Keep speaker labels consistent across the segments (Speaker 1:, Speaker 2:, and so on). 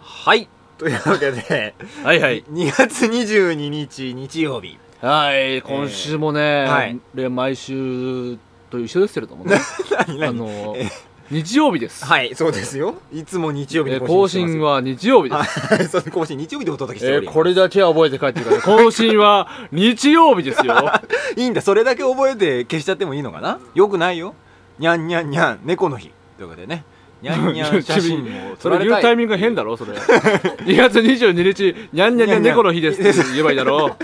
Speaker 1: はい
Speaker 2: というわけで、
Speaker 1: はいはい
Speaker 2: 2月22日日曜日
Speaker 1: はい今週もね、
Speaker 2: はい
Speaker 1: れ毎週と一緒ですけれどもね
Speaker 2: 何
Speaker 1: あ
Speaker 2: 何
Speaker 1: の
Speaker 2: え
Speaker 1: 日曜日です、
Speaker 2: はいそうですよいつも日曜日
Speaker 1: え
Speaker 2: に
Speaker 1: ー更新
Speaker 2: は
Speaker 1: は日曜日です、
Speaker 2: はいそう更新日曜日でお届けして
Speaker 1: え
Speaker 2: お
Speaker 1: ー
Speaker 2: り
Speaker 1: これだけは覚えて帰ってくだ さい更新は日曜日ですよ
Speaker 2: いいんだそれだけ覚えて消しちゃってもいいのかなよくないよにゃんにゃんにゃん猫の日というわけでねにゃんにゃん写真を
Speaker 1: そ
Speaker 2: 撮ら
Speaker 1: れ
Speaker 2: れ
Speaker 1: 言
Speaker 2: た
Speaker 1: う
Speaker 2: い
Speaker 1: タイミングが変だろ それ2月22日にゃんにゃんにゃん猫の日ですって言えばいいだろ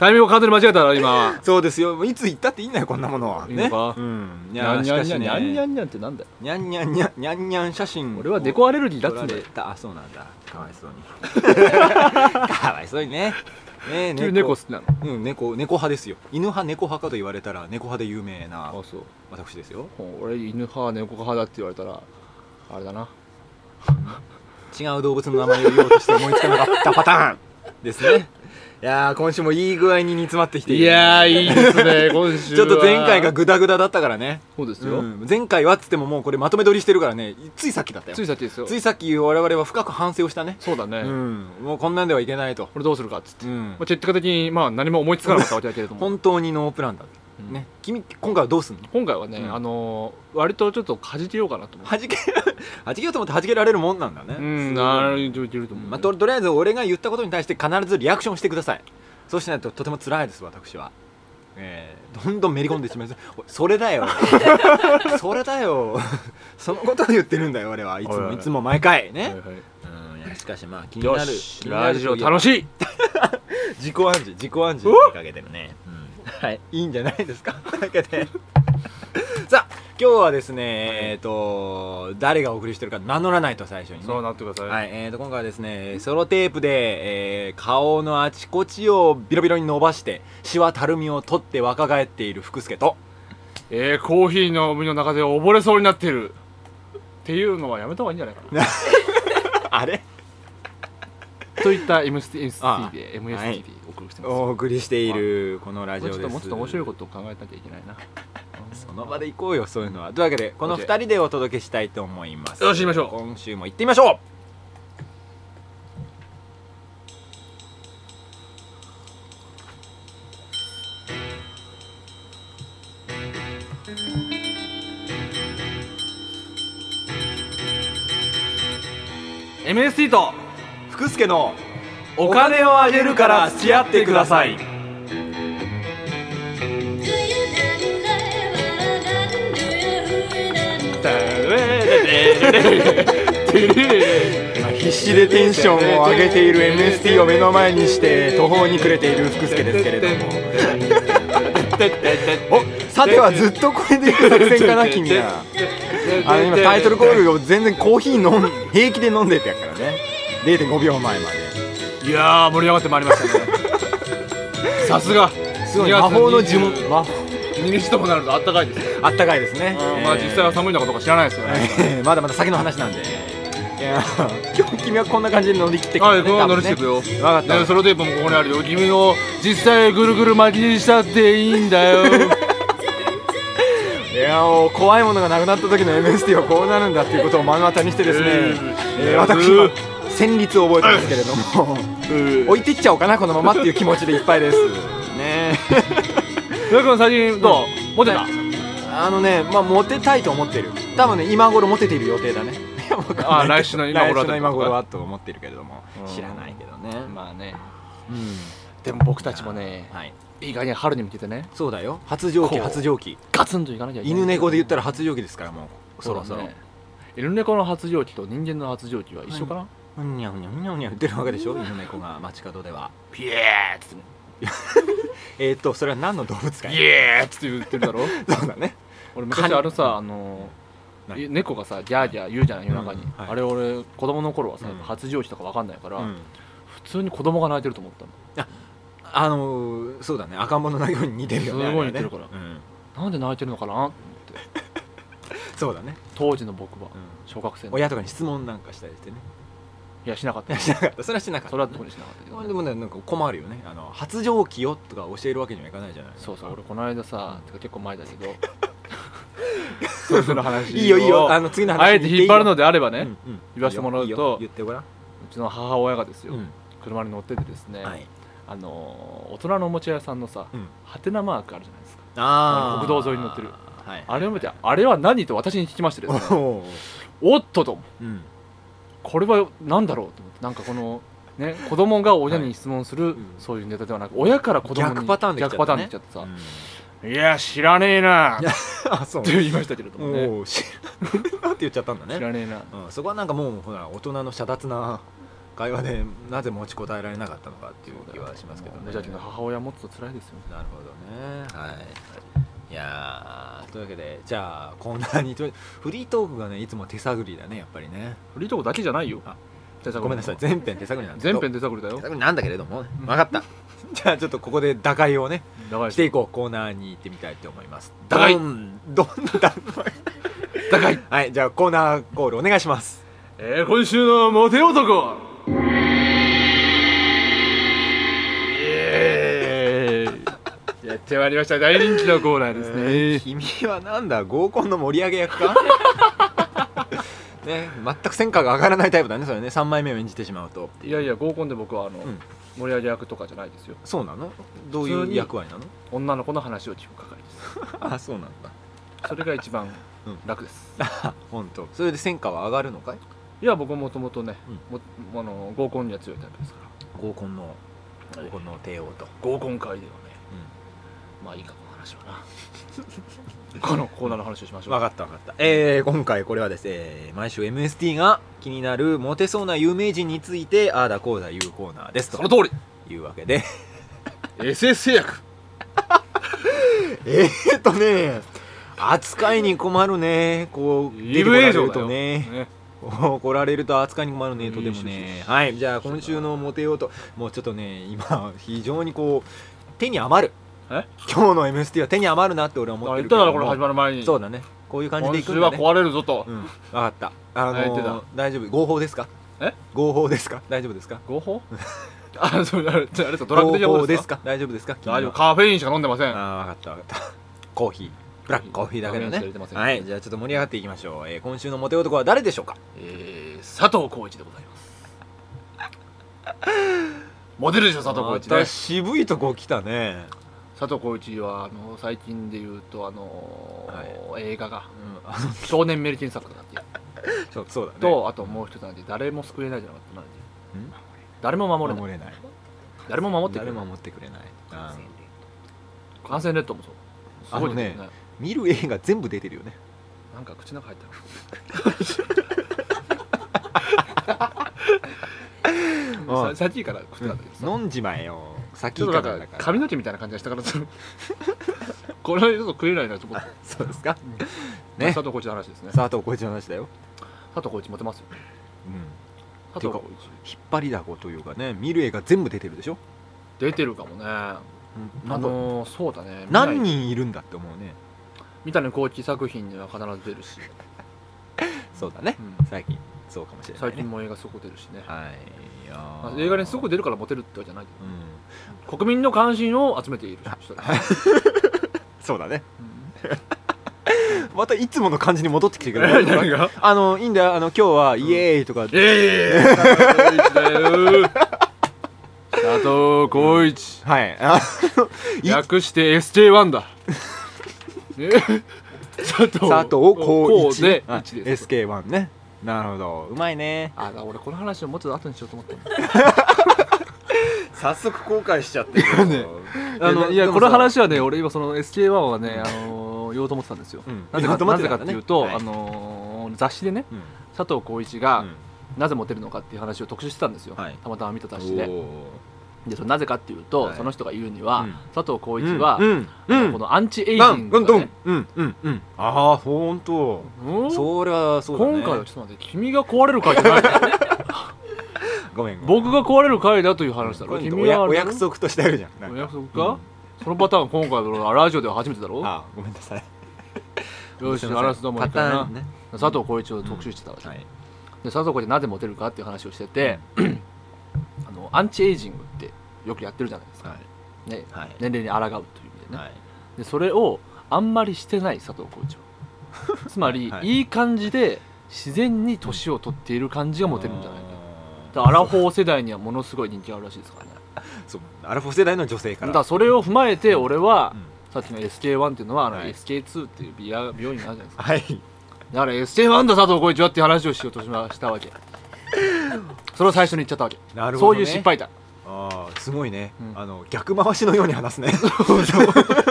Speaker 1: タイミングを完全に間違えたら今は
Speaker 2: そうですよいつ行ったっていいんだよこんなものはい
Speaker 1: いの
Speaker 2: ね
Speaker 1: か
Speaker 2: うんい
Speaker 1: に
Speaker 2: や
Speaker 1: ゃんに
Speaker 2: し
Speaker 1: ゃん
Speaker 2: か
Speaker 1: に
Speaker 2: し
Speaker 1: ゃん
Speaker 2: ね
Speaker 1: にゃんにゃんにゃんってなんだよ
Speaker 2: にゃんにゃんにゃんにゃんにゃん写真
Speaker 1: 俺はデコアレルギーだっ
Speaker 2: 撮
Speaker 1: つうん
Speaker 2: ら
Speaker 1: だよ
Speaker 2: れ たあそうなんだかわいそうに かわいそうにねねえ
Speaker 1: 急に猫好きなの
Speaker 2: うん、猫猫派ですよ犬派猫派かと言われたら猫派で有名な
Speaker 1: あそう
Speaker 2: 私ですよ
Speaker 1: もう俺犬派猫派だって言われたらあれだな
Speaker 2: 違う動物の名前を言おうとして思いつかなかったパタ ーンですねいやー今週もいい具合に煮詰まってきてい
Speaker 1: い
Speaker 2: る
Speaker 1: やーいいですね 今週
Speaker 2: ちょ
Speaker 1: は
Speaker 2: っと前回がグダグダだったからね、
Speaker 1: そうです
Speaker 2: う
Speaker 1: よ、
Speaker 2: ん前回はっつってももうこれまとめ撮りしてるからねついさっきだったよ
Speaker 1: ついさっきですよ
Speaker 2: ついさっき我々は深く反省をしたね、
Speaker 1: そうだね、
Speaker 2: うんもうこんなんではいけないと、
Speaker 1: これどうするかっつって、
Speaker 2: う
Speaker 1: ま
Speaker 2: ん
Speaker 1: あ、、結果的にまあ何も思いつかなかったわけだけれども
Speaker 2: 本当にノープランだ、
Speaker 1: うん
Speaker 2: ね君今回はどうすんの
Speaker 1: 今回はね、
Speaker 2: うん
Speaker 1: あのー割とちょっとかじけようかなと思って
Speaker 2: はじけ はじけようと思ってはじけられるもんなんだね
Speaker 1: うん
Speaker 2: すごい
Speaker 1: なるほどいけると思う、
Speaker 2: まあ、ととりあえず俺が言ったことに対して必ずリアクションしてくださいそうしないととても辛いです私は、えー、どんどんめり込んでしまいますおいそれだよ それだよ そのことを言ってるんだよ俺はいつ
Speaker 1: はいは
Speaker 2: も
Speaker 1: い
Speaker 2: いつも毎回
Speaker 1: はい
Speaker 2: ね
Speaker 1: はい
Speaker 2: うんいやしかしまあ気に
Speaker 1: よ
Speaker 2: なる
Speaker 1: しラジオ楽
Speaker 2: しい
Speaker 1: しい
Speaker 2: 自己暗示自己暗示にかけてるね、うんはいいいんじゃないですか というわけでさあ今日はですねえっ、と誰がお送りしてるか名乗らないと最初にね
Speaker 1: そうなってください、
Speaker 2: はい、えー、と今回はですねソロテープで、えー顔のあちこちをビロビロに伸ばしてシワたるみを取って若返っている福助 と
Speaker 1: えー、コーヒーの海の中で溺れそうになってるっていうのはやめた方がいいんじゃないかな
Speaker 2: あれ
Speaker 1: といった MST
Speaker 2: あ
Speaker 1: MST で MST でお送りしてます、
Speaker 2: お送りしているこの
Speaker 1: こ
Speaker 2: ラジオ
Speaker 1: れちょ
Speaker 2: で
Speaker 1: っ
Speaker 2: す
Speaker 1: ともうちょっと面白いことを考えなきゃいけないな
Speaker 2: その場で行こうよそういうのはというわけでこの2人でお届けしたいと思います
Speaker 1: よし行きましょう
Speaker 2: 今週も行ってみましょ
Speaker 1: うん MST と
Speaker 2: う福助の
Speaker 1: お金をあげるから付き合ってください
Speaker 3: Do you ever laugh? Do you ever
Speaker 2: 必死でテンションを上げている MST を目の前にして途方に暮れている福助ですけれどもおさてはずっとこれでいく作戦かな君はあの今タイトルコールを全然コーヒー飲ん平気で飲んでたからね0.5秒前まで
Speaker 1: いやー盛り上がってまいりましたねさすが
Speaker 2: すごい魔法の呪文
Speaker 1: 2
Speaker 2: 魔法
Speaker 1: 月22日ともなるとあったかいですね
Speaker 2: あったかいですね、
Speaker 1: まあ実際は寒いのかどうか知らないですよね
Speaker 2: えー まだまだ先の話なんでいや 今日君はこんな感じで乗り切ってく
Speaker 1: は
Speaker 2: る
Speaker 1: い、
Speaker 2: ね
Speaker 1: この乗りしていくよ。
Speaker 2: 分かった
Speaker 1: ねソロテープもここにあるよ。君の実際ぐるぐる巻きにしたっていいんだよ。
Speaker 2: いやもう怖いものがなくなった時の MST はこうなるんだっていうことを目の当たりにしてですね、
Speaker 1: え
Speaker 2: え
Speaker 1: ー
Speaker 2: ー私は戦慄を覚えたんですけれど も置いていっちゃおうかなこのままっていう気持ちでいっぱいです ね
Speaker 1: よくん最近どうモテた
Speaker 2: は？あのねまあモテたいと思ってる多分ね今頃モテている予定だねいやわかんないけど
Speaker 1: あ 来週の今頃は
Speaker 2: 来週の今頃はと思ってるけれども
Speaker 1: うん
Speaker 2: 知らないけどね、
Speaker 1: まあね。
Speaker 2: うん
Speaker 1: でも僕たちもね、
Speaker 2: はい
Speaker 1: いい加減春に向けてね、
Speaker 2: そうだよ発情期
Speaker 1: こう
Speaker 2: 発情期
Speaker 1: ガツンといかなきゃいけない。
Speaker 2: 犬猫で言ったら発情期ですからもうそ
Speaker 1: そう
Speaker 2: ろ
Speaker 1: だね
Speaker 2: そろ、
Speaker 1: 犬猫の発情期と人間の発情期は一緒かな？
Speaker 2: うにゃうにゃうにゃうにゃ言ってるわけでしょ犬猫が街角では
Speaker 1: ピエーっつって
Speaker 2: えー、っとそれは何の動物か
Speaker 1: ね、
Speaker 2: い
Speaker 1: ピエーっつって言ってる だろ。
Speaker 2: そうだね
Speaker 1: 俺昔あのさあの
Speaker 2: 何
Speaker 1: 猫がさギャーギャー言うじゃない夜中に、
Speaker 2: うんはい
Speaker 1: あれ俺子供の頃はさ、
Speaker 2: うん
Speaker 1: 発情期とかわかんないから、
Speaker 2: うん
Speaker 1: 普通に子供が泣いてると思ったの
Speaker 2: あのー、そうだね赤ん坊の内容に似てるよね
Speaker 1: すごい
Speaker 2: あれはね
Speaker 1: 似てるか
Speaker 2: うん
Speaker 1: なんで泣いてるのかなと思って
Speaker 2: そうだね、
Speaker 1: 当時の僕は
Speaker 2: う
Speaker 1: 小学生
Speaker 2: ん
Speaker 1: のい
Speaker 2: 親とかに質問なんかしたりしてね
Speaker 1: やしなかっ
Speaker 2: い
Speaker 1: た
Speaker 2: や しなかったそれはしなかった
Speaker 1: それは特にしなかったけど、
Speaker 2: でもねなんか困るよねあの発情期よとか教えるわけにはいかないじゃない
Speaker 1: そうそう俺この間さ、てか結構前だけ どそいつの話を
Speaker 2: いいよいいよあの次の話
Speaker 1: あえて引っ張るの
Speaker 2: で
Speaker 1: であればね、
Speaker 2: うんうん
Speaker 1: 言わせてもらうと
Speaker 2: いいよいいよ言ってごらん
Speaker 1: ちの母親がですよ、
Speaker 2: うん
Speaker 1: 車に乗っててですね、
Speaker 2: はい
Speaker 1: あのー大人のおもちゃ屋さんのさ、
Speaker 2: うん
Speaker 1: ハテナマークあるじゃないですか
Speaker 2: あー
Speaker 1: 国道沿いに乗ってる
Speaker 2: はい
Speaker 1: あれを見てあれは何と私に聞きましてですね
Speaker 2: おー
Speaker 1: おっとと
Speaker 2: うん
Speaker 1: これは何だろうと思ってなんかこのね子供が親に質問する、
Speaker 2: いうん
Speaker 1: そういうネタではなく親から子供に
Speaker 2: 逆パターンできちゃ
Speaker 1: 逆パ
Speaker 2: ったね
Speaker 1: ターンできちゃってさ、
Speaker 2: うん
Speaker 1: いや知らねえなっ
Speaker 2: いやあそう
Speaker 1: て言いましたけれどもね
Speaker 2: おお知らん って言っちゃったんだ
Speaker 1: 知
Speaker 2: ね、
Speaker 1: らねえな
Speaker 2: うん、そこはなんかもうほら大人の遮奪な会話でなぜ持ちこたえられなかったのかっていう気はしますけどね
Speaker 1: 無邪気な母親持つと辛いですよね
Speaker 2: なるほどねはいいやーというわけでじゃあこんなにとフリートークがねいつも手探りだねやっぱりね
Speaker 1: フリートークだけじゃないよ
Speaker 2: あ
Speaker 1: 手探り
Speaker 2: ごめんなさい全編手探りなんですけ
Speaker 1: 全
Speaker 2: ど
Speaker 1: 編手探りだよ
Speaker 2: 手探りなんだけれども分かった じゃあちょっとここで打開をね
Speaker 1: 長い
Speaker 2: していこうコーナーに行ってみたいと思います
Speaker 1: 打開
Speaker 2: どんどん打開
Speaker 1: だかい、
Speaker 2: はいじゃあコーナーコールお願いします
Speaker 1: えー、今週のモテ男はイエーイやってまいりました大人気のコーナーですね、
Speaker 2: 君はなんだ合コンの盛り上げ役 かね全く戦果が上がらないタイプだねそれね3枚目を演じてしまうと
Speaker 1: いやいや合コンで僕はあの、
Speaker 2: うん
Speaker 1: 盛り上げ役とかじゃないですよ
Speaker 2: そうなのどういう役割なの
Speaker 1: 女の子の話を聞く係です
Speaker 2: あそうなんだ
Speaker 1: それが一番
Speaker 2: うん
Speaker 1: 楽です、
Speaker 2: 本当。それで戦果は上がるのかい
Speaker 1: いや僕もともとね、もあの合コンには強いタイプですから
Speaker 2: 合コンの合コンの帝王と、
Speaker 1: 合コン会ではねまあいいかこの話はな このコーナーの話をしましょう
Speaker 2: 分かった分かったえー、今回これはですね、えー毎週 MST が気になるモテそうな有名人についてああだこうだ言うコーナーです
Speaker 1: その通
Speaker 2: というわけで
Speaker 1: り SS 製薬
Speaker 2: えーっとね扱いに困るねこう出てこら
Speaker 1: EVA 上
Speaker 2: れる
Speaker 1: だ
Speaker 2: と
Speaker 1: よ、
Speaker 2: ね
Speaker 1: ね
Speaker 2: 怒られると扱いに困るねとでも
Speaker 1: よしよし
Speaker 2: ね
Speaker 1: よし
Speaker 2: はいじゃあ今週のモテようともうちょっとね今非常にこう手に余る
Speaker 1: え
Speaker 2: 今日の MST は手に余るなって俺は
Speaker 1: だ
Speaker 2: 思
Speaker 1: か
Speaker 2: っ
Speaker 1: ら言
Speaker 2: て
Speaker 1: っ
Speaker 2: る
Speaker 1: た
Speaker 2: けれ
Speaker 1: だろ
Speaker 2: ど
Speaker 1: こ
Speaker 2: も
Speaker 1: の始まる前に
Speaker 2: そうだねこういう感じでい
Speaker 1: 今
Speaker 2: くん
Speaker 1: 週
Speaker 2: だ
Speaker 1: は
Speaker 2: ね
Speaker 1: 壊れるぞと、
Speaker 2: うん分かったあの
Speaker 1: あ言ってた
Speaker 2: ー大丈夫合法ですか
Speaker 1: え
Speaker 2: 合法ですか大丈夫ですか
Speaker 1: 合 法あそうあれあれですかドラッグ的な
Speaker 2: 合
Speaker 1: こ
Speaker 2: 法
Speaker 1: と
Speaker 2: で
Speaker 1: ですす
Speaker 2: か
Speaker 1: か
Speaker 2: 大丈夫ですか君は
Speaker 1: 大丈夫カフェインしか飲んでません
Speaker 2: ああ分かった分か ったコーヒーブラックコーヒーだけだ
Speaker 1: カフェインしか入れ
Speaker 2: ね
Speaker 1: てません
Speaker 2: はいじゃあちょっと盛り上がっていきましょう、えー今週のモテ男は誰でしょうか
Speaker 1: えー、佐藤浩市でございますモデルでしょ佐藤浩市ね
Speaker 2: また渋いとこ来たね
Speaker 1: 佐藤浩市はあの最近で言うとあのー映画が
Speaker 2: うん
Speaker 1: 「少年メリケン作家」だっていう
Speaker 2: そうそうだね
Speaker 1: とあともう一つなんで誰も救えないじゃなかったなんで
Speaker 2: ん
Speaker 1: 誰も守れない
Speaker 2: 守れない
Speaker 1: 誰も守ってくれ
Speaker 2: 誰
Speaker 1: な
Speaker 2: も
Speaker 1: い
Speaker 2: 守ってくれないあー
Speaker 1: 感染レッドもそうすごいですよね
Speaker 2: 見る映画全部出てるよね
Speaker 1: なんか口の中入ったな
Speaker 2: あ
Speaker 1: ささっきから食ってたんだけどさ、
Speaker 2: 飲んじまえよ
Speaker 1: ち
Speaker 2: 先
Speaker 1: ょっ
Speaker 2: か
Speaker 1: と
Speaker 2: ら
Speaker 1: な
Speaker 2: だ
Speaker 1: ん
Speaker 2: か
Speaker 1: から髪の毛みたいな感じがしたからさこれはちょっと食えないなと思って、
Speaker 2: そうですか
Speaker 1: ね、
Speaker 2: ね
Speaker 1: 佐藤浩市の話ですね佐
Speaker 2: さああとこいつの話だよ
Speaker 1: 藤浩市モテますよね
Speaker 2: うん
Speaker 1: 佐藤
Speaker 2: てか
Speaker 1: 浩市
Speaker 2: 引っ張りだこというかね見る映画全部出てるでしょ
Speaker 1: 出てるかもねあ
Speaker 2: あの
Speaker 1: のー、そうだね
Speaker 2: 何
Speaker 1: 見ない
Speaker 2: 人いるんだって思うね
Speaker 1: 三谷幸喜作品には必ず出るし、
Speaker 2: そうだね
Speaker 1: うん
Speaker 2: 最近そうかもしれな
Speaker 1: 最
Speaker 2: いね
Speaker 1: 近も映画すごく出るしね
Speaker 2: はいいや
Speaker 1: ま
Speaker 2: ー
Speaker 1: あ映画にすごく出るからモテるってわけじゃないけ
Speaker 2: うん
Speaker 1: ど国民の関心を集めている人だね
Speaker 2: そうだね
Speaker 1: うん
Speaker 2: またいつもの感じに戻ってきてくれ
Speaker 1: 何
Speaker 2: る
Speaker 1: が
Speaker 2: あのいいんだよあの今日はイエーイとか
Speaker 1: ええー、佐藤浩市
Speaker 2: はいあ
Speaker 1: 略して SJ1 だえ佐藤
Speaker 2: 佐藤浩一
Speaker 1: で
Speaker 2: はい
Speaker 1: 一です
Speaker 2: SK1 ねなるほどうまいね
Speaker 1: あ俺この話をもうちょっと後にしようと思った
Speaker 2: 早速後悔しちゃってる
Speaker 1: ね
Speaker 2: あ
Speaker 1: あ
Speaker 2: の
Speaker 1: のいやこの話はね俺今その SJ1 はね、あのー言おうと思ってたんですよ、
Speaker 2: うん
Speaker 1: なぜ
Speaker 2: 言おう
Speaker 1: か
Speaker 2: と思っ
Speaker 1: な
Speaker 2: て
Speaker 1: ぜ
Speaker 2: た
Speaker 1: かっ
Speaker 2: んだね
Speaker 1: ていうと、
Speaker 2: はい
Speaker 1: あのー雑誌でね
Speaker 2: うん
Speaker 1: 佐藤浩市が、
Speaker 2: うん
Speaker 1: なぜモテるのかっていう話を特集してたんですよ、
Speaker 2: はい
Speaker 1: たまたま見た雑誌で
Speaker 2: お
Speaker 1: でそれなぜかっていうと、
Speaker 2: はい
Speaker 1: その人が言うには、
Speaker 2: うん
Speaker 1: 佐藤浩
Speaker 2: ー
Speaker 1: 市は、
Speaker 2: うんうん
Speaker 1: このアンチエイジ
Speaker 2: う
Speaker 1: ン
Speaker 2: ん
Speaker 1: グ
Speaker 2: う
Speaker 1: が、
Speaker 2: ん
Speaker 1: ね
Speaker 2: うんうんうんああほんと
Speaker 1: うん
Speaker 2: それはそうだね
Speaker 1: 今回はちょっと待って君が壊れる回じゃ ない
Speaker 2: ごめんごめん
Speaker 1: 僕が壊れる回だという話だろ
Speaker 2: 今度
Speaker 1: 君
Speaker 2: おや
Speaker 1: は
Speaker 2: お約束としてあるじゃんなん
Speaker 1: お
Speaker 2: か
Speaker 1: 約束か、そのパターン今回のラジオでは初めてだろ
Speaker 2: あーごめんなさい
Speaker 1: よし
Speaker 2: すいません
Speaker 1: あらすどもい
Speaker 2: パ
Speaker 1: い
Speaker 2: タ
Speaker 1: か
Speaker 2: ー
Speaker 1: な、
Speaker 2: ンね
Speaker 1: 佐藤浩市を特集してたわけ、
Speaker 2: はい
Speaker 1: で佐藤浩市なぜモテるかっていう話をしてて、あのアンチエイジングってよくやってるじゃないですか、
Speaker 2: はい
Speaker 1: ね、
Speaker 2: はい
Speaker 1: 年齢に抗うという意味でね、
Speaker 2: はい
Speaker 1: でそれをあんまりしてない佐藤浩市 はつまり、
Speaker 2: はい
Speaker 1: い、い感じで自然に年を取っている感じがモテるんじゃないか
Speaker 2: あ
Speaker 1: だからアラフォー世代にはものすごい人気あるらしいですからね
Speaker 2: そうアラフォー世代の女性か
Speaker 1: だ
Speaker 2: ら
Speaker 1: からそれを踏まえて俺は、さっきの SK1 っていうのはあの
Speaker 2: はい
Speaker 1: SK2 っていう美容病院があるじゃないですか
Speaker 2: はい
Speaker 1: だから SK1 だ佐藤浩市はっていう話をしようとしましたわ けそれを最初に言っちゃったわけ
Speaker 2: なる
Speaker 1: そ
Speaker 2: ほど
Speaker 1: う
Speaker 2: ね
Speaker 1: いう失敗だ
Speaker 2: ああすごいね、
Speaker 1: うん
Speaker 2: あの逆回しのように話 すね
Speaker 1: こ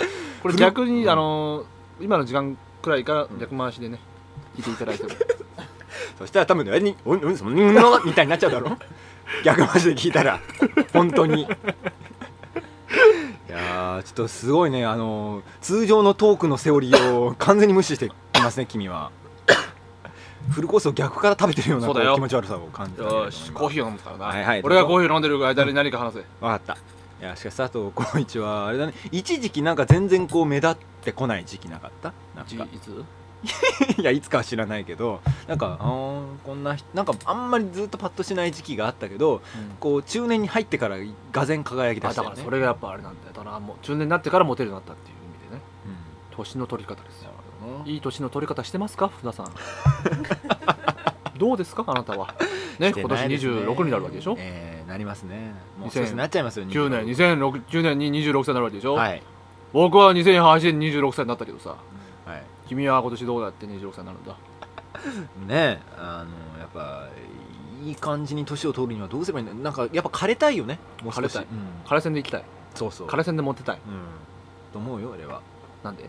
Speaker 1: れ
Speaker 2: 古っ
Speaker 1: 逆に、あのー今の時間くらいから逆回しでね、聞いていただいても
Speaker 2: そしたら多分ねに「うんうんそんな」みたいになっちゃうだ ろ逆回しで聞いたら本当にいやーちょっとすごいねあの通常のトークのセオリーを完全に無視していますね君 はフルコースを逆から食べてるような
Speaker 1: そうだ
Speaker 2: こ
Speaker 1: よ
Speaker 2: う気持ち悪さを感じたけれども
Speaker 1: よしコーヒーを飲むからな、
Speaker 2: はいはい
Speaker 1: 俺がコーヒーを飲んでる間に何か話せ、
Speaker 2: わかったいやしかし佐藤浩市はあれだね一時期なんか全然こう目立ってこない時期なかったなん
Speaker 1: じ
Speaker 2: か
Speaker 1: いつ
Speaker 2: いやいつかは知らないけどなんかあーこんな人なんかあんまりずっとパッとしない時期があったけどこう中年に入ってからがぜん輝き出
Speaker 1: あ
Speaker 2: した
Speaker 1: だ
Speaker 2: よ、
Speaker 1: か
Speaker 2: ね、
Speaker 1: らそれがやっぱあれなんだよだからもう中年になってからモテるようになったっていう意味でね
Speaker 2: う
Speaker 1: 年の取り方ですよ
Speaker 2: んなるほ ど
Speaker 1: いい年の取り方してますか福田 さんどうですかあなたはね
Speaker 2: して
Speaker 1: 今
Speaker 2: な
Speaker 1: 年
Speaker 2: いですね
Speaker 1: 26になるわけでしょ、
Speaker 2: えーなりますねもう
Speaker 1: 2000
Speaker 2: 少しなっちゃいますよ
Speaker 1: 9年2009年に26歳になるわけでしょ、
Speaker 2: はい
Speaker 1: 僕は2008年に26歳になったけどさ
Speaker 2: はい
Speaker 1: 君は今年どうやって26歳になるんだ
Speaker 2: ねあのやっぱいい感じに年を取るにはどうすればいいんだなんかやっぱ枯れたいよねもう少
Speaker 1: 枯
Speaker 2: し
Speaker 1: れたい
Speaker 2: うん
Speaker 1: 枯れ線で行きたい
Speaker 2: そうそう
Speaker 1: 枯れ線でモテたい
Speaker 2: うんと思うよ俺は
Speaker 1: なんで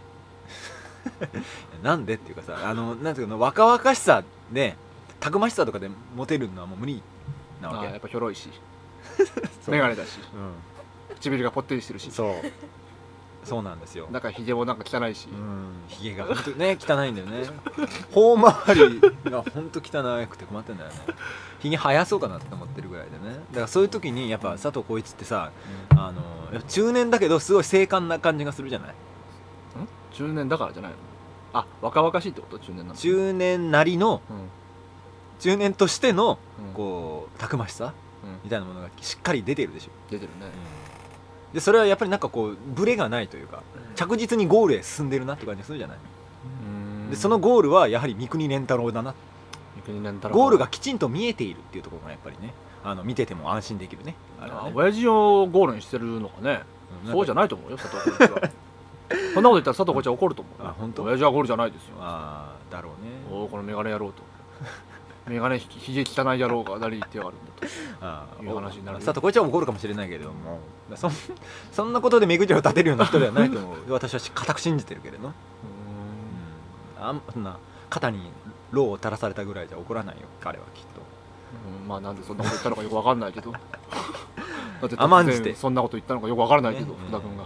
Speaker 2: なんでっていうかさあのなんていうの若々しさでたくましさとかでモテるのはもう無理な
Speaker 1: あ
Speaker 2: わ
Speaker 1: あ
Speaker 2: け
Speaker 1: やっぱひょろい し
Speaker 2: そう
Speaker 1: 眼鏡だし
Speaker 2: う
Speaker 1: 唇がぽってりしてるし
Speaker 2: んそうそうなんですよ
Speaker 1: なんかひげもなんか汚いし、
Speaker 2: うんひげが本当にね汚いんだよね頬周りが本当汚くて困ってんだよねひげ生やそうかなって思ってるぐらいでねだからそういう時にやっぱ佐藤浩市ってさあのやっぱ中年だけどすごい精悍な感じがするじゃない
Speaker 1: 中年だからじゃないのあ若々しいってこと中年なの
Speaker 2: 中年なりの
Speaker 1: うん
Speaker 2: 中年としての
Speaker 1: うん
Speaker 2: こうたくましさ
Speaker 1: うん
Speaker 2: みたいなものがしっかり出てるでしょ
Speaker 1: 出てるね
Speaker 2: でそれはやっぱりなんかこうブレがないというか着実にゴールへ進んでるなって感じがするじゃない、
Speaker 1: うん
Speaker 2: でそのゴールはやはり三国連太郎だな
Speaker 1: 国連太郎
Speaker 2: ゴールがきちんと見えているっていうところがやっぱりねあの見てても安心できるねあれは
Speaker 1: あ
Speaker 2: ね
Speaker 1: 親父をゴールにしてるのかね
Speaker 2: うん
Speaker 1: そうじゃ
Speaker 2: な
Speaker 1: ないと思うよ佐藤浩市 はそんなこと言ったら佐藤浩市は怒ると思うよ
Speaker 2: あ本当
Speaker 1: 親父はゴールじゃないですよ
Speaker 2: ああだろうね
Speaker 1: おおこのメガネ野郎とメガネひひげ汚い野郎が何言ってやがるんだと
Speaker 2: ああ
Speaker 1: いう話になる
Speaker 2: さとこいちゃん怒るかもしれないけれどもだそんそんなことで目くじを立てるような人ではないと思う私はし固く信じてるけれど、うん、あんそんな肩にローを垂らされたぐらいじゃ怒らないよ彼はきっと
Speaker 1: うんまあなんでそんなこと言ったのかよくわかんない けどだって
Speaker 2: 甘ん
Speaker 1: 突
Speaker 2: じて
Speaker 1: 然そんなこと言ったのかよくわからないけど
Speaker 2: ね
Speaker 1: 福田君が
Speaker 2: う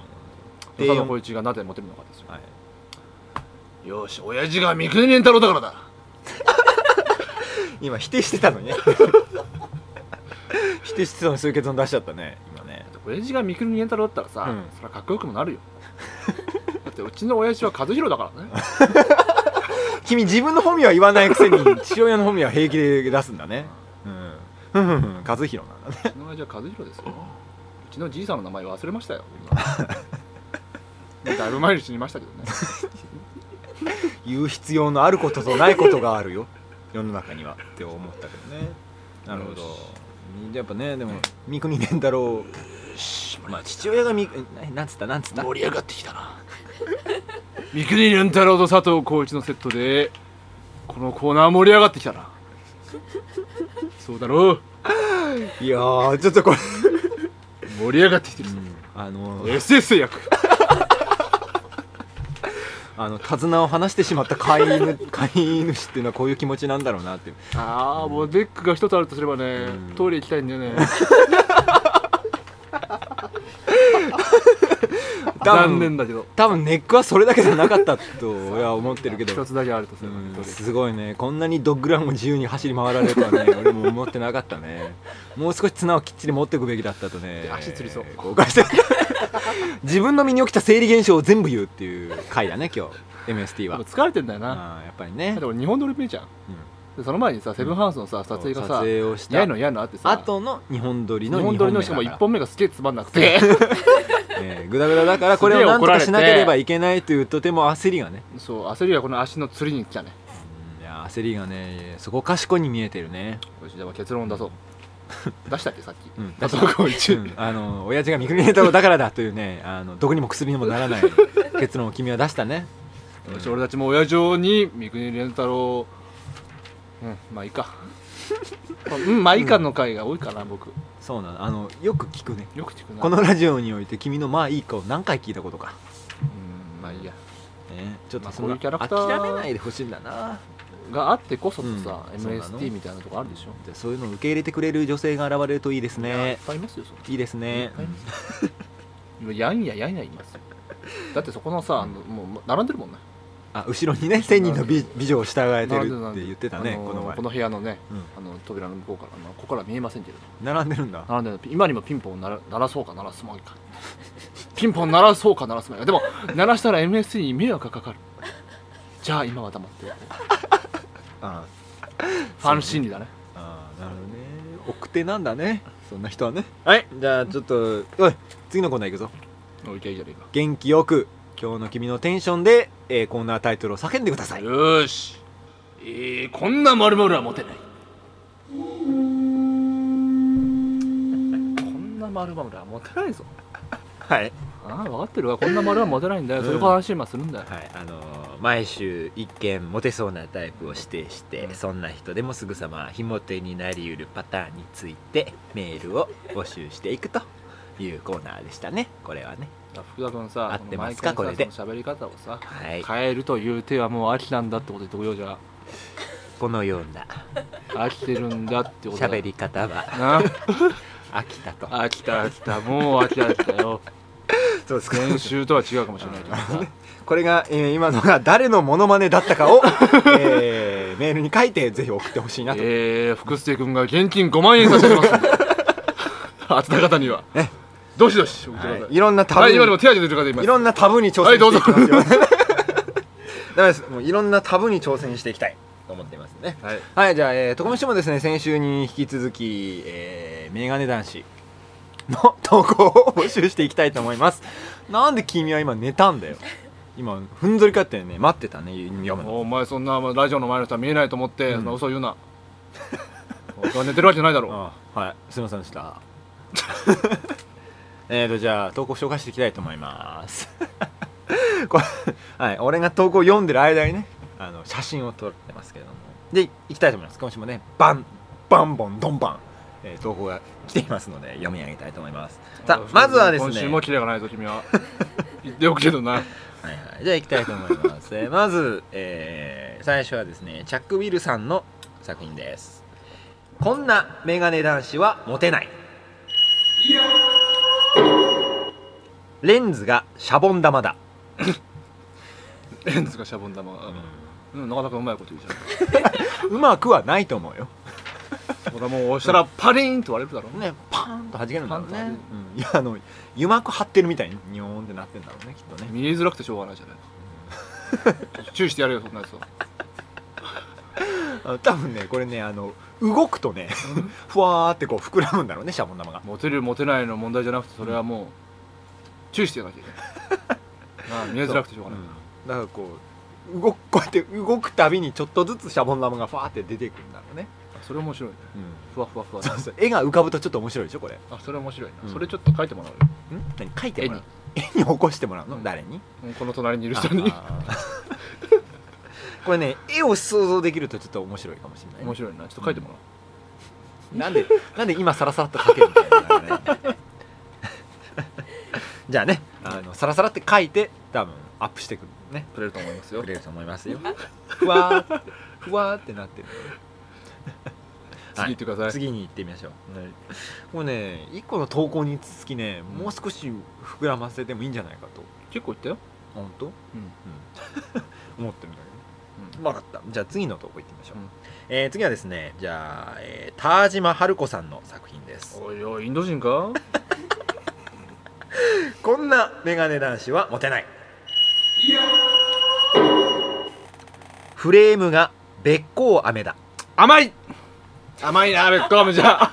Speaker 1: 佐
Speaker 2: ん
Speaker 1: 藤浩市がなぜモテるのかですよ
Speaker 2: はい
Speaker 1: よし親父が三國連太郎だからだ
Speaker 2: 今否定してたの ね否定してたのにそういう結論出しちゃったね今ね
Speaker 1: 親父が三國連太郎だったらさ、
Speaker 2: うん
Speaker 1: そりゃかっこよくもなるよ だってうちの親父は和弘だからね
Speaker 2: 君自分の本名は言わないくせに父親の本名は平気で出すんだねうんふんふんふん和弘なんだ
Speaker 1: う
Speaker 2: ね
Speaker 1: ちの親父は和弘ですようちのじいさんの名前忘れましたよもう だいぶ前に死にましたけど ね
Speaker 2: 言う必要のあることとないことがあるよ世の中にはって思ったけどねなるほど
Speaker 1: よ
Speaker 2: やっぱねでも三國連太郎まあ父親がみえななんつったなんつった
Speaker 1: り上がってきたな三國連太郎と佐藤浩市のセットでこのコーナー盛り上がってきたなそうだろう
Speaker 2: いやーちょっとこれ、
Speaker 1: 盛り上がってきてるぞ、
Speaker 2: あの
Speaker 1: SS 役
Speaker 2: あの手綱を離してしまった飼い犬飼い主っていうのはこういう気持ちなんだろうなっていう
Speaker 1: ああもうデックが一つあるとすればね、
Speaker 2: うん
Speaker 1: トイレ行きたいんだよ ね残念だけど
Speaker 2: 多分ネックはそれだけじゃなかったと俺は思ってるけど
Speaker 1: 一つだけあるとすれば、
Speaker 2: う
Speaker 1: ね
Speaker 2: ん
Speaker 1: トイレ行きたい
Speaker 2: すごいねこんなにドッグランを自由に走り回られる とはね俺も思ってなかったねもう少し綱をきっちり持っておくべきだったとね
Speaker 1: 足つりそう
Speaker 2: 後悔して自分の身に起きた生理現象を全部言うっていう回だね今日 MST
Speaker 1: で
Speaker 2: は
Speaker 1: も疲れてんだよな、
Speaker 2: あーやっぱりね
Speaker 1: だって俺日本撮り見るじゃんでその前にさセブンハウスのさ撮影が
Speaker 2: 撮
Speaker 1: さ
Speaker 2: 影をした
Speaker 1: やいのやいのあってさ
Speaker 2: あとの日本撮り
Speaker 1: 日
Speaker 2: の
Speaker 1: 本撮りのしかも
Speaker 2: 一
Speaker 1: 1本目がすげえつまんなく て
Speaker 2: えー、グダグダだからこれをなんとかしなければいけないというとても焦りがね
Speaker 1: そう焦りはこの足の釣りに来たね
Speaker 2: いや焦りがねそこかしこに見えてるね、
Speaker 1: よしじゃあ結論出そう出したっけさっき
Speaker 2: うん
Speaker 1: 佐藤浩一
Speaker 2: うんあの親父が三國太郎だからだというねあの毒にも薬にもならない結論を君は出したね
Speaker 1: よし俺たちも親父に三國連太郎うんまあいいか うんまあいいかの回が多いかな僕
Speaker 2: そうなのあのよく聞くね
Speaker 1: よく聞くな
Speaker 2: このラジオにおいて君の「まあいいか」を何回聞いたことか、
Speaker 1: うんまあいいや
Speaker 2: ね、ちょっ
Speaker 1: ま
Speaker 2: と
Speaker 1: あ
Speaker 2: その
Speaker 1: こういうキャラクター
Speaker 2: 諦めないでほしいんだな
Speaker 1: があってこそのさ、
Speaker 2: うんそうなの
Speaker 1: MST みたいなとこあるでしょ、
Speaker 2: でそういうのを受け入れてくれる女性が現れるといいです
Speaker 1: いっ
Speaker 2: ね
Speaker 1: ぱいいますよそ
Speaker 2: いいです
Speaker 1: れいっ
Speaker 2: ね
Speaker 1: ぱいいますよやんややんやいますよだってそこのさあのもう並んでるもんね
Speaker 2: あ後ろにね千人の美美女を従えて
Speaker 1: 並んで
Speaker 2: るって言ってたね
Speaker 1: あの
Speaker 2: この前
Speaker 1: この部屋のね、
Speaker 2: うん
Speaker 1: あの扉の向こうから、まあ、ここから見えませんけれど
Speaker 2: 並んでるんだ
Speaker 1: 並んでる今にもピンポン鳴ら鳴らそうか鳴らすまいかピンポン鳴らそうか鳴らすまいかでも鳴らしたら MST に迷惑がかかるじゃあ今は黙ってよう
Speaker 2: あ
Speaker 1: ファン心理だね
Speaker 2: あなるほどね奥手なんだねそんな人はねはいじゃあちょっとおい次のコーナー行くぞ
Speaker 1: おいけいいじゃねえ
Speaker 2: 元気よく今日の君のテンションで、えーコーナータイトルを叫んでくださ
Speaker 1: か
Speaker 2: い
Speaker 1: よーし、えー、こんな丸々は持てないこんな丸々は持てないぞ
Speaker 2: はい
Speaker 1: ああ分かってるわこんな丸は持てないんだよ、
Speaker 2: うん
Speaker 1: そういう話今するんだよ
Speaker 2: はいあのー毎週一見モテそうなタイプを指定してそんな人でもすぐさま非モテになりうるパターンについてメールを募集していくというコーナーでしたねこれはね
Speaker 1: 福田君さ
Speaker 2: 合ってますか
Speaker 1: この毎回
Speaker 2: こ
Speaker 1: さその喋り方をさ
Speaker 2: はい
Speaker 1: 変えるという手はもう飽きたんだってこと言ってこようじゃ
Speaker 2: このような
Speaker 1: 飽きてるんだってことだ
Speaker 2: 喋り方は
Speaker 1: な
Speaker 2: 飽きたと
Speaker 1: 飽きた飽きたもう飽きた飽きたよ
Speaker 2: そうです
Speaker 1: 練習とは違うかもしれないけ どさ
Speaker 2: これが、えー今のが誰のモノマネだっ たかを、えーメールに書いてぜひ送ってほしいなと、
Speaker 1: えー、福助君が現金5万円差し上げます んであつた方にはどしどし送ってください、
Speaker 2: はい、いろんなタブ
Speaker 1: はい、
Speaker 2: に、
Speaker 1: 今でも手挙げてる方いま
Speaker 2: い
Speaker 1: す
Speaker 2: ろんなタブに挑戦していき
Speaker 1: は
Speaker 2: ま
Speaker 1: い
Speaker 2: すよ、ダメですもういろんなタブに挑戦していきたいと思っていますね
Speaker 1: はい、
Speaker 2: はいじゃあ、えー、徳島もですね先週に引き続き、えー、メガネ男子の投稿を募集していきたいと思いますなんで君は今寝たんだよ今ふんぞり返ってね待ってたね読むの
Speaker 1: お前そんなまあラジオの前の人は見えないと思って、そんな嘘言うな俺は寝てるわけないだろう
Speaker 2: あはいすいませんでした えーとじゃあ投稿紹介していきたいと思います これはい俺が投稿読んでる間にねあの写真を撮ってますけれどもでいきたいと思います今週もねバンバンボンドンバン、えー投稿が来ていますので読み上げたいと思いますさあまずはですね
Speaker 1: 今週もキレがないぞ君 は言っておくけどな
Speaker 2: はいはい、じゃあ行きたいと思います、えーまず、えー最初はですねチャック・ウィルさんの作品ですこんなメガネ男子はモテないレンズがシャボン玉だ、
Speaker 1: レンズがシャボン玉、うん、なかなかうまいこと言うじ
Speaker 2: うまくはないと思うよ
Speaker 1: ゃん俺はもう押したらパリーンと割れるだろうね
Speaker 2: ねパーンと弾けるんだろう
Speaker 1: パーン
Speaker 2: ね
Speaker 1: と、
Speaker 2: うん、いやあの油膜張ってるみたいにニョーンってなってんだろうねきっとね
Speaker 1: 見えづらくてしょうがないじゃない注意してやれよそんなやつは
Speaker 2: あ多分ねこれねあの動くとねふわーってこう膨らむんだろうねシャボン玉が
Speaker 1: モテるモテないの問題じゃなくてそれはもう注意してやらなきゃいけないなあ見えづらくてしょうがない、
Speaker 2: うんだからこう動くこうやって動くたびにちょっとずつシャボン玉がファーって出てくるんだろうね、
Speaker 1: それ面白いねふわふわふわ
Speaker 2: そうそう絵が浮かぶとちょっと面白いでしょこれん
Speaker 1: あそれ面白いな、
Speaker 2: うん
Speaker 1: それちょっと書いてもらおうよ
Speaker 2: 何描いてもらう絵に起こしてもらうの、誰に
Speaker 1: うんこの隣にいる人に
Speaker 2: あーこれね絵を想像できるとちょっと面白いかもしれない
Speaker 1: 面白いなちょっと書いてもらおう、
Speaker 2: なんでなんで今サラサラっと描けるみたいなのがね じゃあねあのサラサラって描いて多分アップしてくるね
Speaker 1: くれると思いますよ
Speaker 2: くれると思いますよふわーってふわーってな ってる
Speaker 1: 次行ってください、
Speaker 2: 次に行ってみましょう、もうね1個の投稿につきねもう少し膨らませてもいいんじゃないかと
Speaker 1: 結構いったよ、
Speaker 2: 本当、うん
Speaker 1: うん、
Speaker 2: 思ってるんだけど分かったじゃあ次の投稿行ってみましょう、
Speaker 1: うん
Speaker 2: えー次はですねじゃあ、えー、田島春子さんの作品です
Speaker 1: おいおいインド人か
Speaker 2: こんなメガネ男子はモテないフレームがべっこう飴だ
Speaker 1: 甘い甘いなベッコアムじ ゃ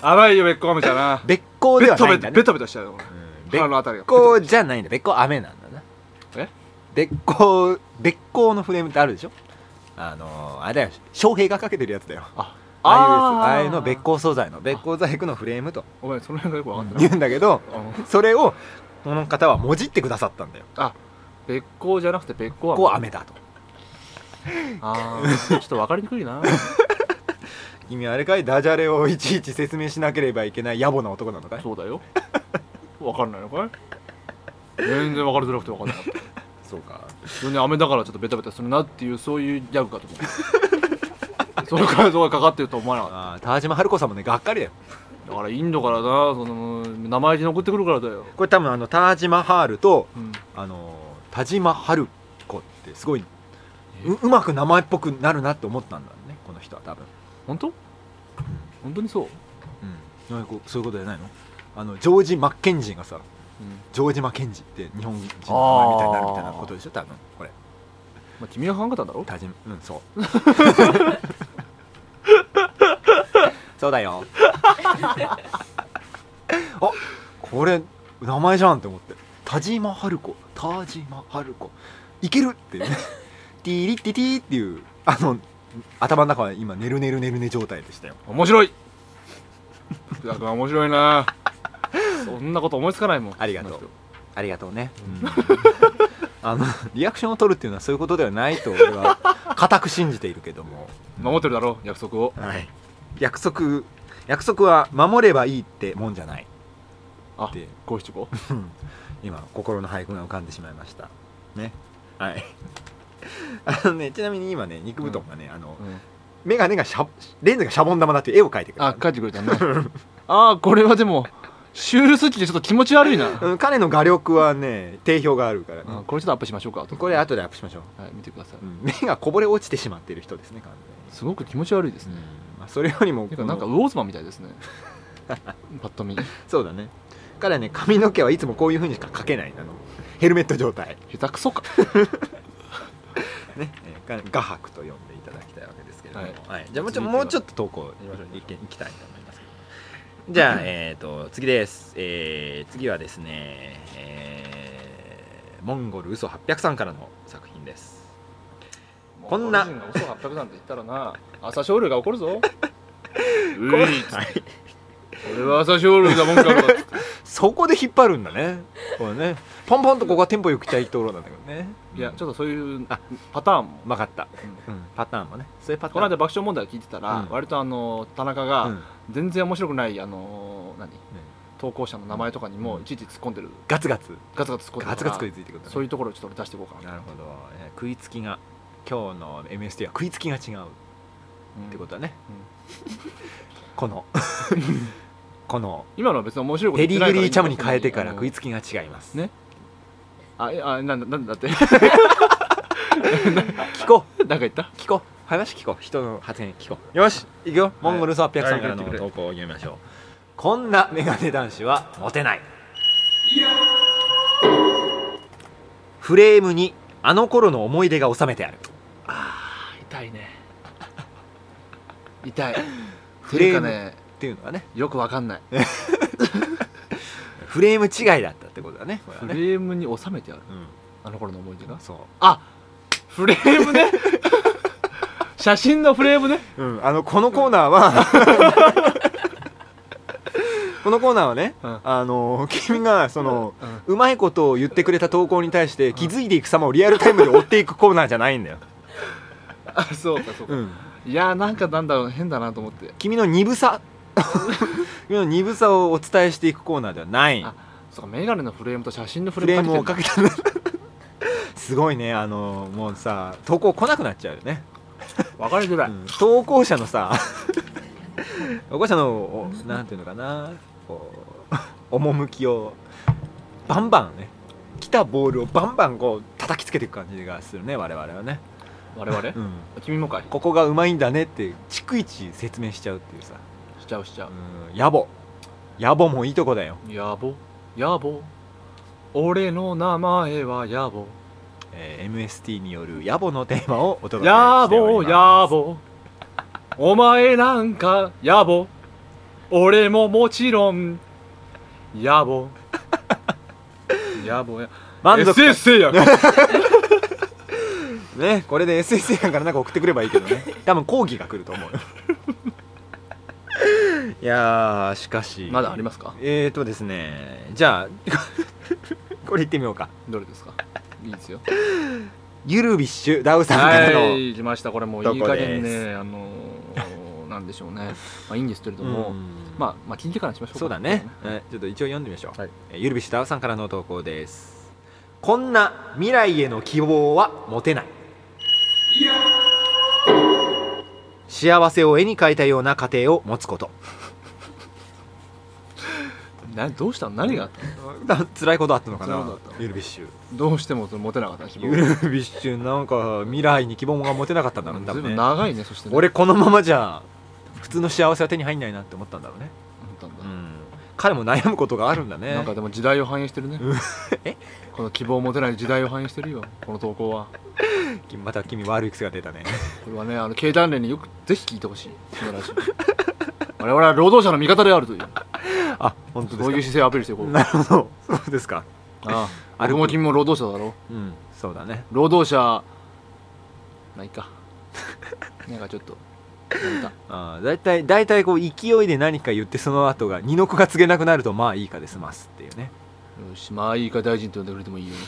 Speaker 1: 甘いよベッコアムじゃな
Speaker 2: べっこう
Speaker 1: ベ
Speaker 2: では
Speaker 1: タ
Speaker 2: な
Speaker 1: ベ
Speaker 2: いんだ
Speaker 1: タ
Speaker 2: ね
Speaker 1: ベタベタしちゃうよ俺
Speaker 2: うんべっ
Speaker 1: 腹のあたりが
Speaker 2: こうじゃないんだべっこう飴なんだな
Speaker 1: え
Speaker 2: べっこうべっこうのフレームってあるでしょあのあれだよ翔平がかけてるやつだよ
Speaker 1: あ
Speaker 2: ああいうやつあ
Speaker 1: あー
Speaker 2: あいうの別光素材の別光細工のフレームと
Speaker 1: お前その辺がよく分かった
Speaker 2: 言
Speaker 1: な
Speaker 2: うんだけど
Speaker 1: あ
Speaker 2: それをこの方はもじってくださったんだよ
Speaker 1: あ別光じゃなくて別光
Speaker 2: ここは雨だと
Speaker 1: あーちょっと分かりにくいな
Speaker 2: 君あれかいダジャレをいちいち説明しなければいけない野暮な男なのかい
Speaker 1: そうだよ分かんないのかい全然分かりづらくて分かんなかった
Speaker 2: そうか
Speaker 1: それに雨だからちょっとベタベタするなっていうそういうギャグかと思ったそれからそこがかかってると思わなかった
Speaker 2: あー田島春子さんもねがっかりだよ
Speaker 1: だからインドからなその生意気に送ってくるからだよ、
Speaker 2: これ多分あの田島ハールと
Speaker 1: うん、
Speaker 2: あの田島春子ってすごいううまく名前っぽくなるなって思ったんだねこの人は多分、
Speaker 1: 本当本当にそう、
Speaker 2: うん、なんかこうそういうことじゃないのあのジョージ・マッケンジーがさ
Speaker 1: うん
Speaker 2: ジョージ・マッケンジーって日本人の名前みたいになるみたいなことでしょ多分これ
Speaker 1: まあ、君が考えたんだろ
Speaker 2: 田島うんそう そうだよ あこれ名前じゃんって思って田島春子田島春子いける っていうねティリッティティっていうあの頭の中は今ねるねるねるね状態でしたよ
Speaker 1: 面白い福田君は面白いなそんなこと思いつかないもん
Speaker 2: ありがとう
Speaker 1: この人
Speaker 2: ありがとうね、 あのリアクションを取るっていうのはそういうことではないと俺は固く信じているけども
Speaker 1: 守ってるだろ約束を
Speaker 2: はい、約束約束は守ればいいってもんじゃない
Speaker 1: あ
Speaker 2: で
Speaker 1: 五七五
Speaker 2: 今心の俳句が浮かんでしまいましたねはい あのねちなみに今ね肉布団がね、あの
Speaker 1: うん
Speaker 2: 眼鏡がしゃレンズがシャボン玉だっていう絵を描いてくれ
Speaker 1: あ
Speaker 2: た
Speaker 1: 帰ってくれたねああこれはでもシュールすぎてちょっと気持ち悪いな、
Speaker 2: うん彼の画力はね定評があるからね、
Speaker 1: うんこれちょっとアップしましょうか
Speaker 2: これ後でアップしましょう、
Speaker 1: はい、見てください、
Speaker 2: うん目がこぼれ落ちてしまっている人ですね完
Speaker 1: すごく気持ち悪いです
Speaker 2: 全
Speaker 1: ね
Speaker 2: に、、うんまあ、それよりも
Speaker 1: て
Speaker 2: こ
Speaker 1: か
Speaker 2: の
Speaker 1: なんかウォーズマンみたいです ねパッと見
Speaker 2: そうだね彼はね髪の毛はいつもこういうふうにしか描けないあのヘルメット状態
Speaker 1: 下手くそか
Speaker 2: ね、えーが、画伯と呼んでいただきたいわけですけれども、
Speaker 1: は
Speaker 2: はいじゃあもうちょ
Speaker 1: 続いては
Speaker 2: もうちょっと投稿いけいきたいと思いますけどじゃあ、えー、と次です、えー次はですね、えーモンゴル嘘800さんからの作品ですこんな
Speaker 1: もう個人が嘘800なんて言ったらな朝青龍が怒る ぞう
Speaker 2: これ
Speaker 1: いっつって俺は朝青龍だもんからだっつって
Speaker 2: そこで引っ張るんだねこれねポンポンとここはテンポよくいきたいところなんだけどね
Speaker 1: いやちょ
Speaker 2: っ
Speaker 1: っとそういう
Speaker 2: あ
Speaker 1: パターンも
Speaker 2: と分かった、
Speaker 1: うん
Speaker 2: うん、パターンもねそういうパター
Speaker 1: こ
Speaker 2: ン
Speaker 1: の間爆笑問題聞いてたら、
Speaker 2: うん
Speaker 1: 割とあの田中
Speaker 2: う
Speaker 1: が
Speaker 2: ん
Speaker 1: 全然面白くないあの何投稿者の名前とかにもいちいち突っ込んでる
Speaker 2: ガツガツ
Speaker 1: ガツガツ突っ込んでるから
Speaker 2: ガツガツ食いついてくるんだね
Speaker 1: そういうところをちょっと俺出していこうかな
Speaker 2: なるほど、えー食いつきが今日の MST は食いつきが違う
Speaker 1: うん
Speaker 2: ってことだね、このこの
Speaker 1: 今のは別に面白いこと
Speaker 2: ペ
Speaker 1: 言ってな
Speaker 2: デ
Speaker 1: いから
Speaker 2: ィグリーチャムに変えてから食い
Speaker 1: つ
Speaker 2: つきが違います
Speaker 1: ねあえあなんだなんだって
Speaker 2: 聞こ
Speaker 1: なんか言った
Speaker 2: う聞こう話聞こう人の発言聞こうよし行くよモンゴルス800さんからの
Speaker 1: はい
Speaker 2: 投稿を読みましょうこんなメガネ男子はモテないフレームにあの頃の思い出が収めてある
Speaker 1: あー痛いね痛い
Speaker 2: フレー
Speaker 1: っていうか
Speaker 2: ム
Speaker 1: ね
Speaker 2: っていうのはね
Speaker 1: よくわかん ない
Speaker 2: フレーム違いだったってことだねこれは
Speaker 1: フ
Speaker 2: ね
Speaker 1: レームに収めてある
Speaker 2: うん
Speaker 1: あの頃の思い出が
Speaker 2: そう
Speaker 1: あフレームね 写真のフレームね
Speaker 2: うん、あのこのコーナーはこのコーナーはね、
Speaker 1: うん
Speaker 2: あの君がその、
Speaker 1: うん
Speaker 2: うまいことを言ってくれた投稿に対して気づいていく様をリアルタイムで追っていくコーナーじゃないんだよ、
Speaker 1: あそうかそうか、
Speaker 2: うん、
Speaker 1: いやーなんかなんだろう変だなと思って
Speaker 2: 君の鈍さ君の鈍さをお伝えしていくコーナーではない
Speaker 1: あそうかメガネのフレームと写真のフ
Speaker 2: フ
Speaker 1: レ
Speaker 2: レ
Speaker 1: ー
Speaker 2: ー
Speaker 1: ム
Speaker 2: ムをか
Speaker 1: かけ
Speaker 2: けたすごいねあのもうさ投稿来なくなっちゃうよね、
Speaker 1: て分かりづらい、
Speaker 2: うん投稿者のさ 投稿者のおなんていうのかなこう 趣をバンバンね来たボールをバンバンこう叩きつけていく感じがするね我々はね、
Speaker 1: 我々、
Speaker 2: うん、
Speaker 1: 君もかい
Speaker 2: ここがうまいんだねって逐一説明しちゃうっていうさ、
Speaker 1: しちゃうしちゃう
Speaker 2: うん、野暮野暮もいいとこだよ、
Speaker 1: 野暮野暮俺の名前は野暮
Speaker 2: えー MST による野暮のテーマをお届け
Speaker 1: 野
Speaker 2: してお
Speaker 1: 暮
Speaker 2: りま
Speaker 1: 野
Speaker 2: す
Speaker 1: 暮お前なんか野暮俺ももちろん野 暮野暮や
Speaker 2: 満足
Speaker 1: せや
Speaker 2: 満ねこれで SSA からなんか送ってくればいいけど ね多分講義が来ると思うよいやーしかし
Speaker 1: まだありますか
Speaker 2: えーとですねじゃあ これいってみようか
Speaker 1: どれ ですかいいですよ
Speaker 2: ゆるビッシュダウさんからの、
Speaker 1: はい来ましたこれもういい加減
Speaker 2: どこで
Speaker 1: ねあのーなんでしょうねまあいいんですけれど
Speaker 2: うん
Speaker 1: もまあまあ聞いてからにしましょうか
Speaker 2: そうだね、えちょっと一応読んでみましょう、
Speaker 1: はい
Speaker 2: えーゆるびしゅたおさんからの投稿ですこんな未来への希望は持てない幸せを絵に描いたような家庭を持つこと
Speaker 1: などうしたの何があったの
Speaker 2: だ 辛いことあったのか
Speaker 1: 辛い
Speaker 2: な
Speaker 1: ことあった
Speaker 2: ゆるびっしゅ
Speaker 1: どうしてもそのモテなかったんでしょ
Speaker 2: ゆるびっしゅなんか未来に希望が持てなかったんだろうね多
Speaker 1: ずいぶ
Speaker 2: 分
Speaker 1: ん
Speaker 2: ね
Speaker 1: 長いねそしてね
Speaker 2: 俺このままじゃ普通の幸せは手に入んないなって思ったんだろうね、
Speaker 1: 思ったんだ
Speaker 2: うん、彼も悩むことがあるんだね
Speaker 1: なんかでも時代を反映してるね
Speaker 2: うんえ
Speaker 1: この希望を持てない時代を反映してるよこの投稿は
Speaker 2: また君悪い癖が出 たね
Speaker 1: これはねあの経団連によくぜひ聞いてほしいこのラ ジオ我々は労働者の味方であるという
Speaker 2: あ本当です
Speaker 1: そ
Speaker 2: か
Speaker 1: ういう姿勢をアピールしていこう
Speaker 2: なるほどそうですか
Speaker 1: ああ
Speaker 2: あれ
Speaker 1: 僕も君も労働者だろ
Speaker 2: うんそうだね
Speaker 1: 労働者まあいいか なんかちょっとなんか
Speaker 2: あーだいたいだいたいこう勢いで何か言ってその後が二の句が告げなくなるとまあいいかで済ますっていうね
Speaker 1: よしまあいいか大臣と呼んでくれてもいいよね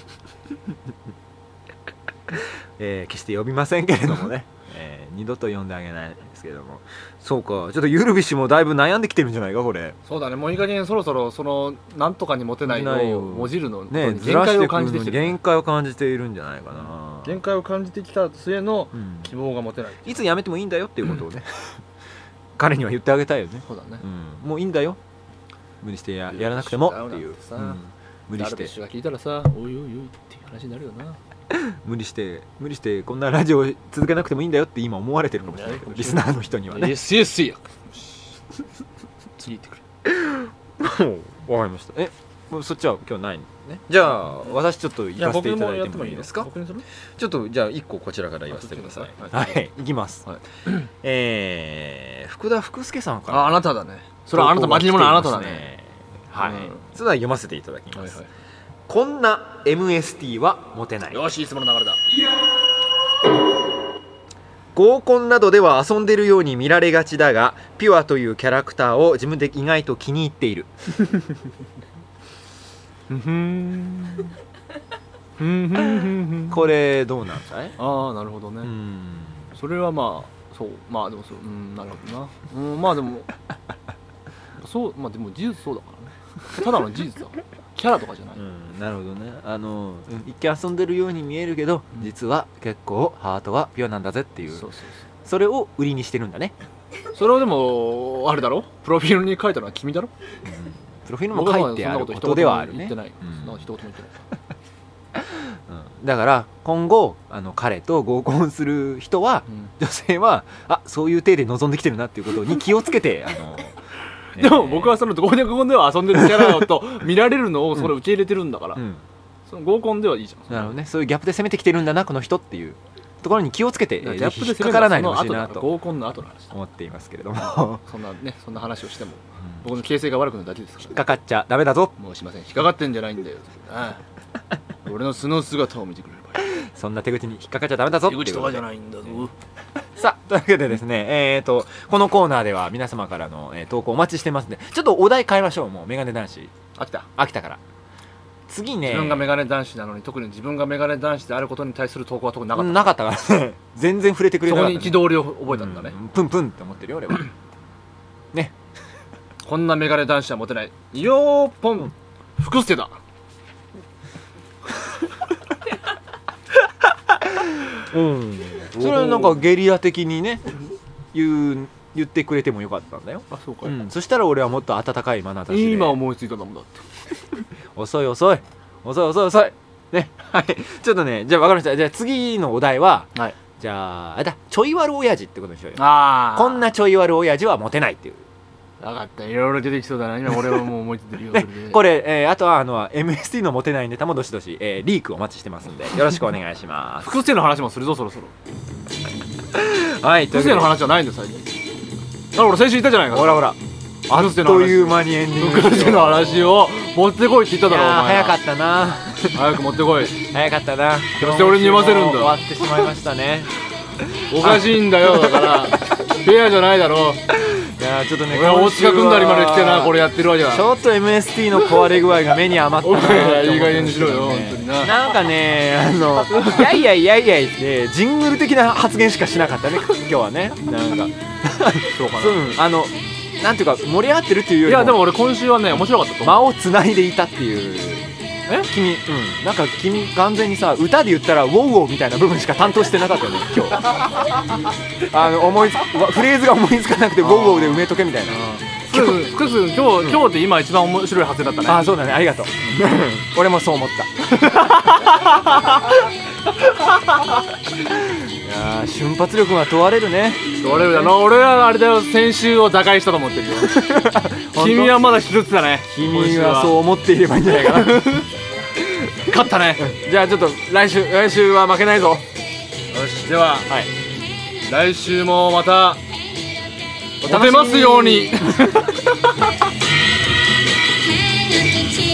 Speaker 2: えー決して呼びませんけれど もね、えー二度と呼んであげないですけれどもそうかちょっとゆるびしもだいぶ悩んできてるんじゃないかこれ
Speaker 1: そうだねもういい加減そろそろそのなんとかに持てない
Speaker 2: な
Speaker 1: の
Speaker 2: いよ
Speaker 1: をもじるのこと
Speaker 2: ね
Speaker 1: に
Speaker 2: ず
Speaker 1: 限
Speaker 2: らし
Speaker 1: 界
Speaker 2: て
Speaker 1: を
Speaker 2: いく
Speaker 1: 感じてきてる
Speaker 2: 限界を感じているんじゃないかな、
Speaker 1: 限界を感じてきた末の
Speaker 2: うん
Speaker 1: 希望が持てない
Speaker 2: いつ辞めてもいいんだよっていうことをね、 彼には言ってあげたいよね、
Speaker 1: そうだね
Speaker 2: うん、もういいんだよ無理してややらなくてもっていう、
Speaker 1: ダ
Speaker 2: う
Speaker 1: ウナーってさ
Speaker 2: ん無理
Speaker 1: ダ
Speaker 2: し
Speaker 1: ルビ
Speaker 2: て
Speaker 1: ッシュが聞いたらさおいおいおいっていう話になるよな
Speaker 2: 無理して無理してこんなラジオ続けなくてもいいんだよって今思われてるかもしれないけどリスナーの人には
Speaker 1: イ
Speaker 2: ね
Speaker 1: エスイエスイエス次行ってくれ
Speaker 2: わかりましたえもうそっちは今日ないのねじゃあ私ちょっと行かせていただいてもいいですか
Speaker 1: 僕にする
Speaker 2: ちょっとじゃあ1個こちらから言わせてください
Speaker 1: あそっちで
Speaker 2: は
Speaker 1: はい
Speaker 2: い行きます、
Speaker 1: はい
Speaker 2: えー、福田福助さんから
Speaker 1: ああなただねそれはあなた巻き物あなただ
Speaker 2: 投稿が来
Speaker 1: ね
Speaker 2: ていますねはい、
Speaker 1: うん
Speaker 2: それでは読ませていただき
Speaker 1: は
Speaker 2: ま
Speaker 1: い
Speaker 2: す、
Speaker 1: は
Speaker 2: こんな MST は持てない
Speaker 1: いよしいつもの流れだ
Speaker 2: 合コンなどでは遊んでるように見られがちだがピュアというキャラクターを自分で意外と気に入って いるこれどうなんだい
Speaker 1: ああなるほどね、
Speaker 2: うん
Speaker 1: それはまあそうまあでもそううんなるほどなうんまあでもそうまあでも事実そうだからねただの事実だからキャラとかじゃない、
Speaker 2: うんなるほどねあのうん一見遊んでるように見えるけど実は結構ハートはピュアなんだぜっていう
Speaker 1: そうそう
Speaker 2: それを売りにしてるんだね
Speaker 1: そうそれをでもあれだろプロフィールに書いたのは君だろ
Speaker 2: プロフィールも書いてあることではあるね
Speaker 1: 僕はそんなこと一言も言ってない、そんなこと一言
Speaker 2: うん
Speaker 1: も言ってない
Speaker 2: うんだから今後あの彼と合コンする人は
Speaker 1: うん
Speaker 2: 女性はあそういう体で望んできてるなっていうことに気をつけ てあの、
Speaker 1: でも僕は
Speaker 2: ね
Speaker 1: その合コンでは遊んでるキャラと見られるのをそれ受け入れてるんだから、
Speaker 2: うん、
Speaker 1: その合コンではいいじゃん
Speaker 2: なるほどねそういうギャップで攻めてきてるんだなこの人っていうところに気をつけて、え
Speaker 1: だから
Speaker 2: ー
Speaker 1: ギャ
Speaker 2: ぜ
Speaker 1: ップ
Speaker 2: ひ
Speaker 1: で
Speaker 2: 引っ
Speaker 1: 攻
Speaker 2: か
Speaker 1: め
Speaker 2: から
Speaker 1: る
Speaker 2: ないで
Speaker 1: の
Speaker 2: ほ
Speaker 1: は
Speaker 2: し
Speaker 1: そ
Speaker 2: い
Speaker 1: の
Speaker 2: な
Speaker 1: 後だ
Speaker 2: と
Speaker 1: 合コンの後の話だ
Speaker 2: 思っていますけれど も
Speaker 1: そんなねそんな話をしても
Speaker 2: うん
Speaker 1: 僕の形勢が悪くなるだけですから
Speaker 2: 引っかかっちゃダメだぞ
Speaker 1: もうしません引っかかってんじゃないんだよああ俺の素の姿を見てくれればいい
Speaker 2: そんな手口に引っかかっちゃダメだぞって
Speaker 1: 手
Speaker 2: いう
Speaker 1: 口とか
Speaker 2: こと
Speaker 1: じ
Speaker 2: で
Speaker 1: ゃないんだぞ
Speaker 2: さあというわけでですね、 えー、とこのコーナーでは皆様からの、えー投稿お待ちしてますんでちょっとお題変えましょうもうメガネ男子
Speaker 1: 飽きた
Speaker 2: 秋田から次ね
Speaker 1: 自分がメガネ男子なのに特に自分がメガネ男子であることに対する投稿は特になかっ
Speaker 2: なかったから ね全然触れてく
Speaker 1: た
Speaker 2: れ
Speaker 1: そ
Speaker 2: なか
Speaker 1: こ
Speaker 2: った
Speaker 1: に
Speaker 2: ね、
Speaker 1: 憤りを覚えたんだね
Speaker 2: うプンプンって思ってる よ俺はね
Speaker 1: こんなメガネ男子はモテないよーポ
Speaker 2: うん
Speaker 1: ン福捨てだ
Speaker 2: うんそれはなんかゲリラ的にね言う言ってくれてもよかったんだよ、
Speaker 1: あそうか
Speaker 2: うん、そしたら俺はもっと温かい眼差しで
Speaker 1: 今思いついたんだもんだって
Speaker 2: 遅い遅い遅い遅い遅いね はいちょっとねじゃあ分かりましたじゃあ次のお題は
Speaker 1: はい
Speaker 2: じゃああれだちょい悪親父ってことにしようよ
Speaker 1: あ
Speaker 2: こんなちょい悪親父はモテないっていう
Speaker 1: 分かったいろいろ出てきそうだな今俺はもう思いついて るよ
Speaker 2: ね
Speaker 1: そで、
Speaker 2: これ、えーあとはあの MST のモテないネタもどしどし、えーリークお待ちしてますんでよろしくお願いします
Speaker 1: 福捨ての話もするぞそろそろ
Speaker 2: はいとい
Speaker 1: 福
Speaker 2: う
Speaker 1: 捨
Speaker 2: こ
Speaker 1: ての
Speaker 2: とで
Speaker 1: 話はないんだよ最近あ俺先週言ったじゃないか
Speaker 2: ほらほら
Speaker 1: あっ
Speaker 2: あっという間にエンディング
Speaker 1: 福
Speaker 2: です
Speaker 1: 祉
Speaker 2: よ
Speaker 1: の話を持ってこいって言った
Speaker 2: い
Speaker 1: だろお
Speaker 2: やー
Speaker 1: 前
Speaker 2: 早
Speaker 1: ら
Speaker 2: かったな
Speaker 1: 早く持ってこい
Speaker 2: 早かったな
Speaker 1: どうして俺に読ませるんだ
Speaker 2: 終わってしまいましたね
Speaker 1: おかしいんだよだからフェアじゃないだろ
Speaker 2: いやーちょっとね
Speaker 1: 俺は大塚君だりまで来てなこれ
Speaker 2: や
Speaker 1: やってるわけだ
Speaker 2: ちょっと MST の壊れ具合が目に余ったなって思っ
Speaker 1: お
Speaker 2: て
Speaker 1: 前いい加減にしろよ本当にな
Speaker 2: なんかねあの「やいやいやいやい」ってジングル的な発言しかしなかったね今日はねなんか
Speaker 1: そうか
Speaker 2: うんあのなんていうか盛り上がってるっていうよ
Speaker 1: い
Speaker 2: りも
Speaker 1: やでも俺今週はね面白かったと思う
Speaker 2: 間をつないでいたっていう
Speaker 1: え
Speaker 2: 君うんなんか君完全にさ歌で言ったら「ウォウウォウ」みたいな部分しか担当してなかったよね今日 あの思いつわフレーズが思いつかなくて「ウォウウォウ」で埋めとけみたいな
Speaker 1: 福君福君今日今日で今一番面白い発言だったね
Speaker 2: ああそうだねありがとう俺もそう思ったいやー瞬発力が問われるね
Speaker 1: 俺らの俺らのあれだよ先週を打開したと思って るよ君はまだ一つだね今
Speaker 2: 君
Speaker 1: 週
Speaker 2: はそう思っていればいいんじゃないかな
Speaker 1: 勝ったね
Speaker 2: じゃあちょっと来週来週は負けないぞ
Speaker 1: よしでは、
Speaker 2: はい
Speaker 1: 来週もまた
Speaker 2: お
Speaker 1: モ
Speaker 2: 楽
Speaker 1: テ
Speaker 2: しみに
Speaker 1: ますように
Speaker 3: 毎日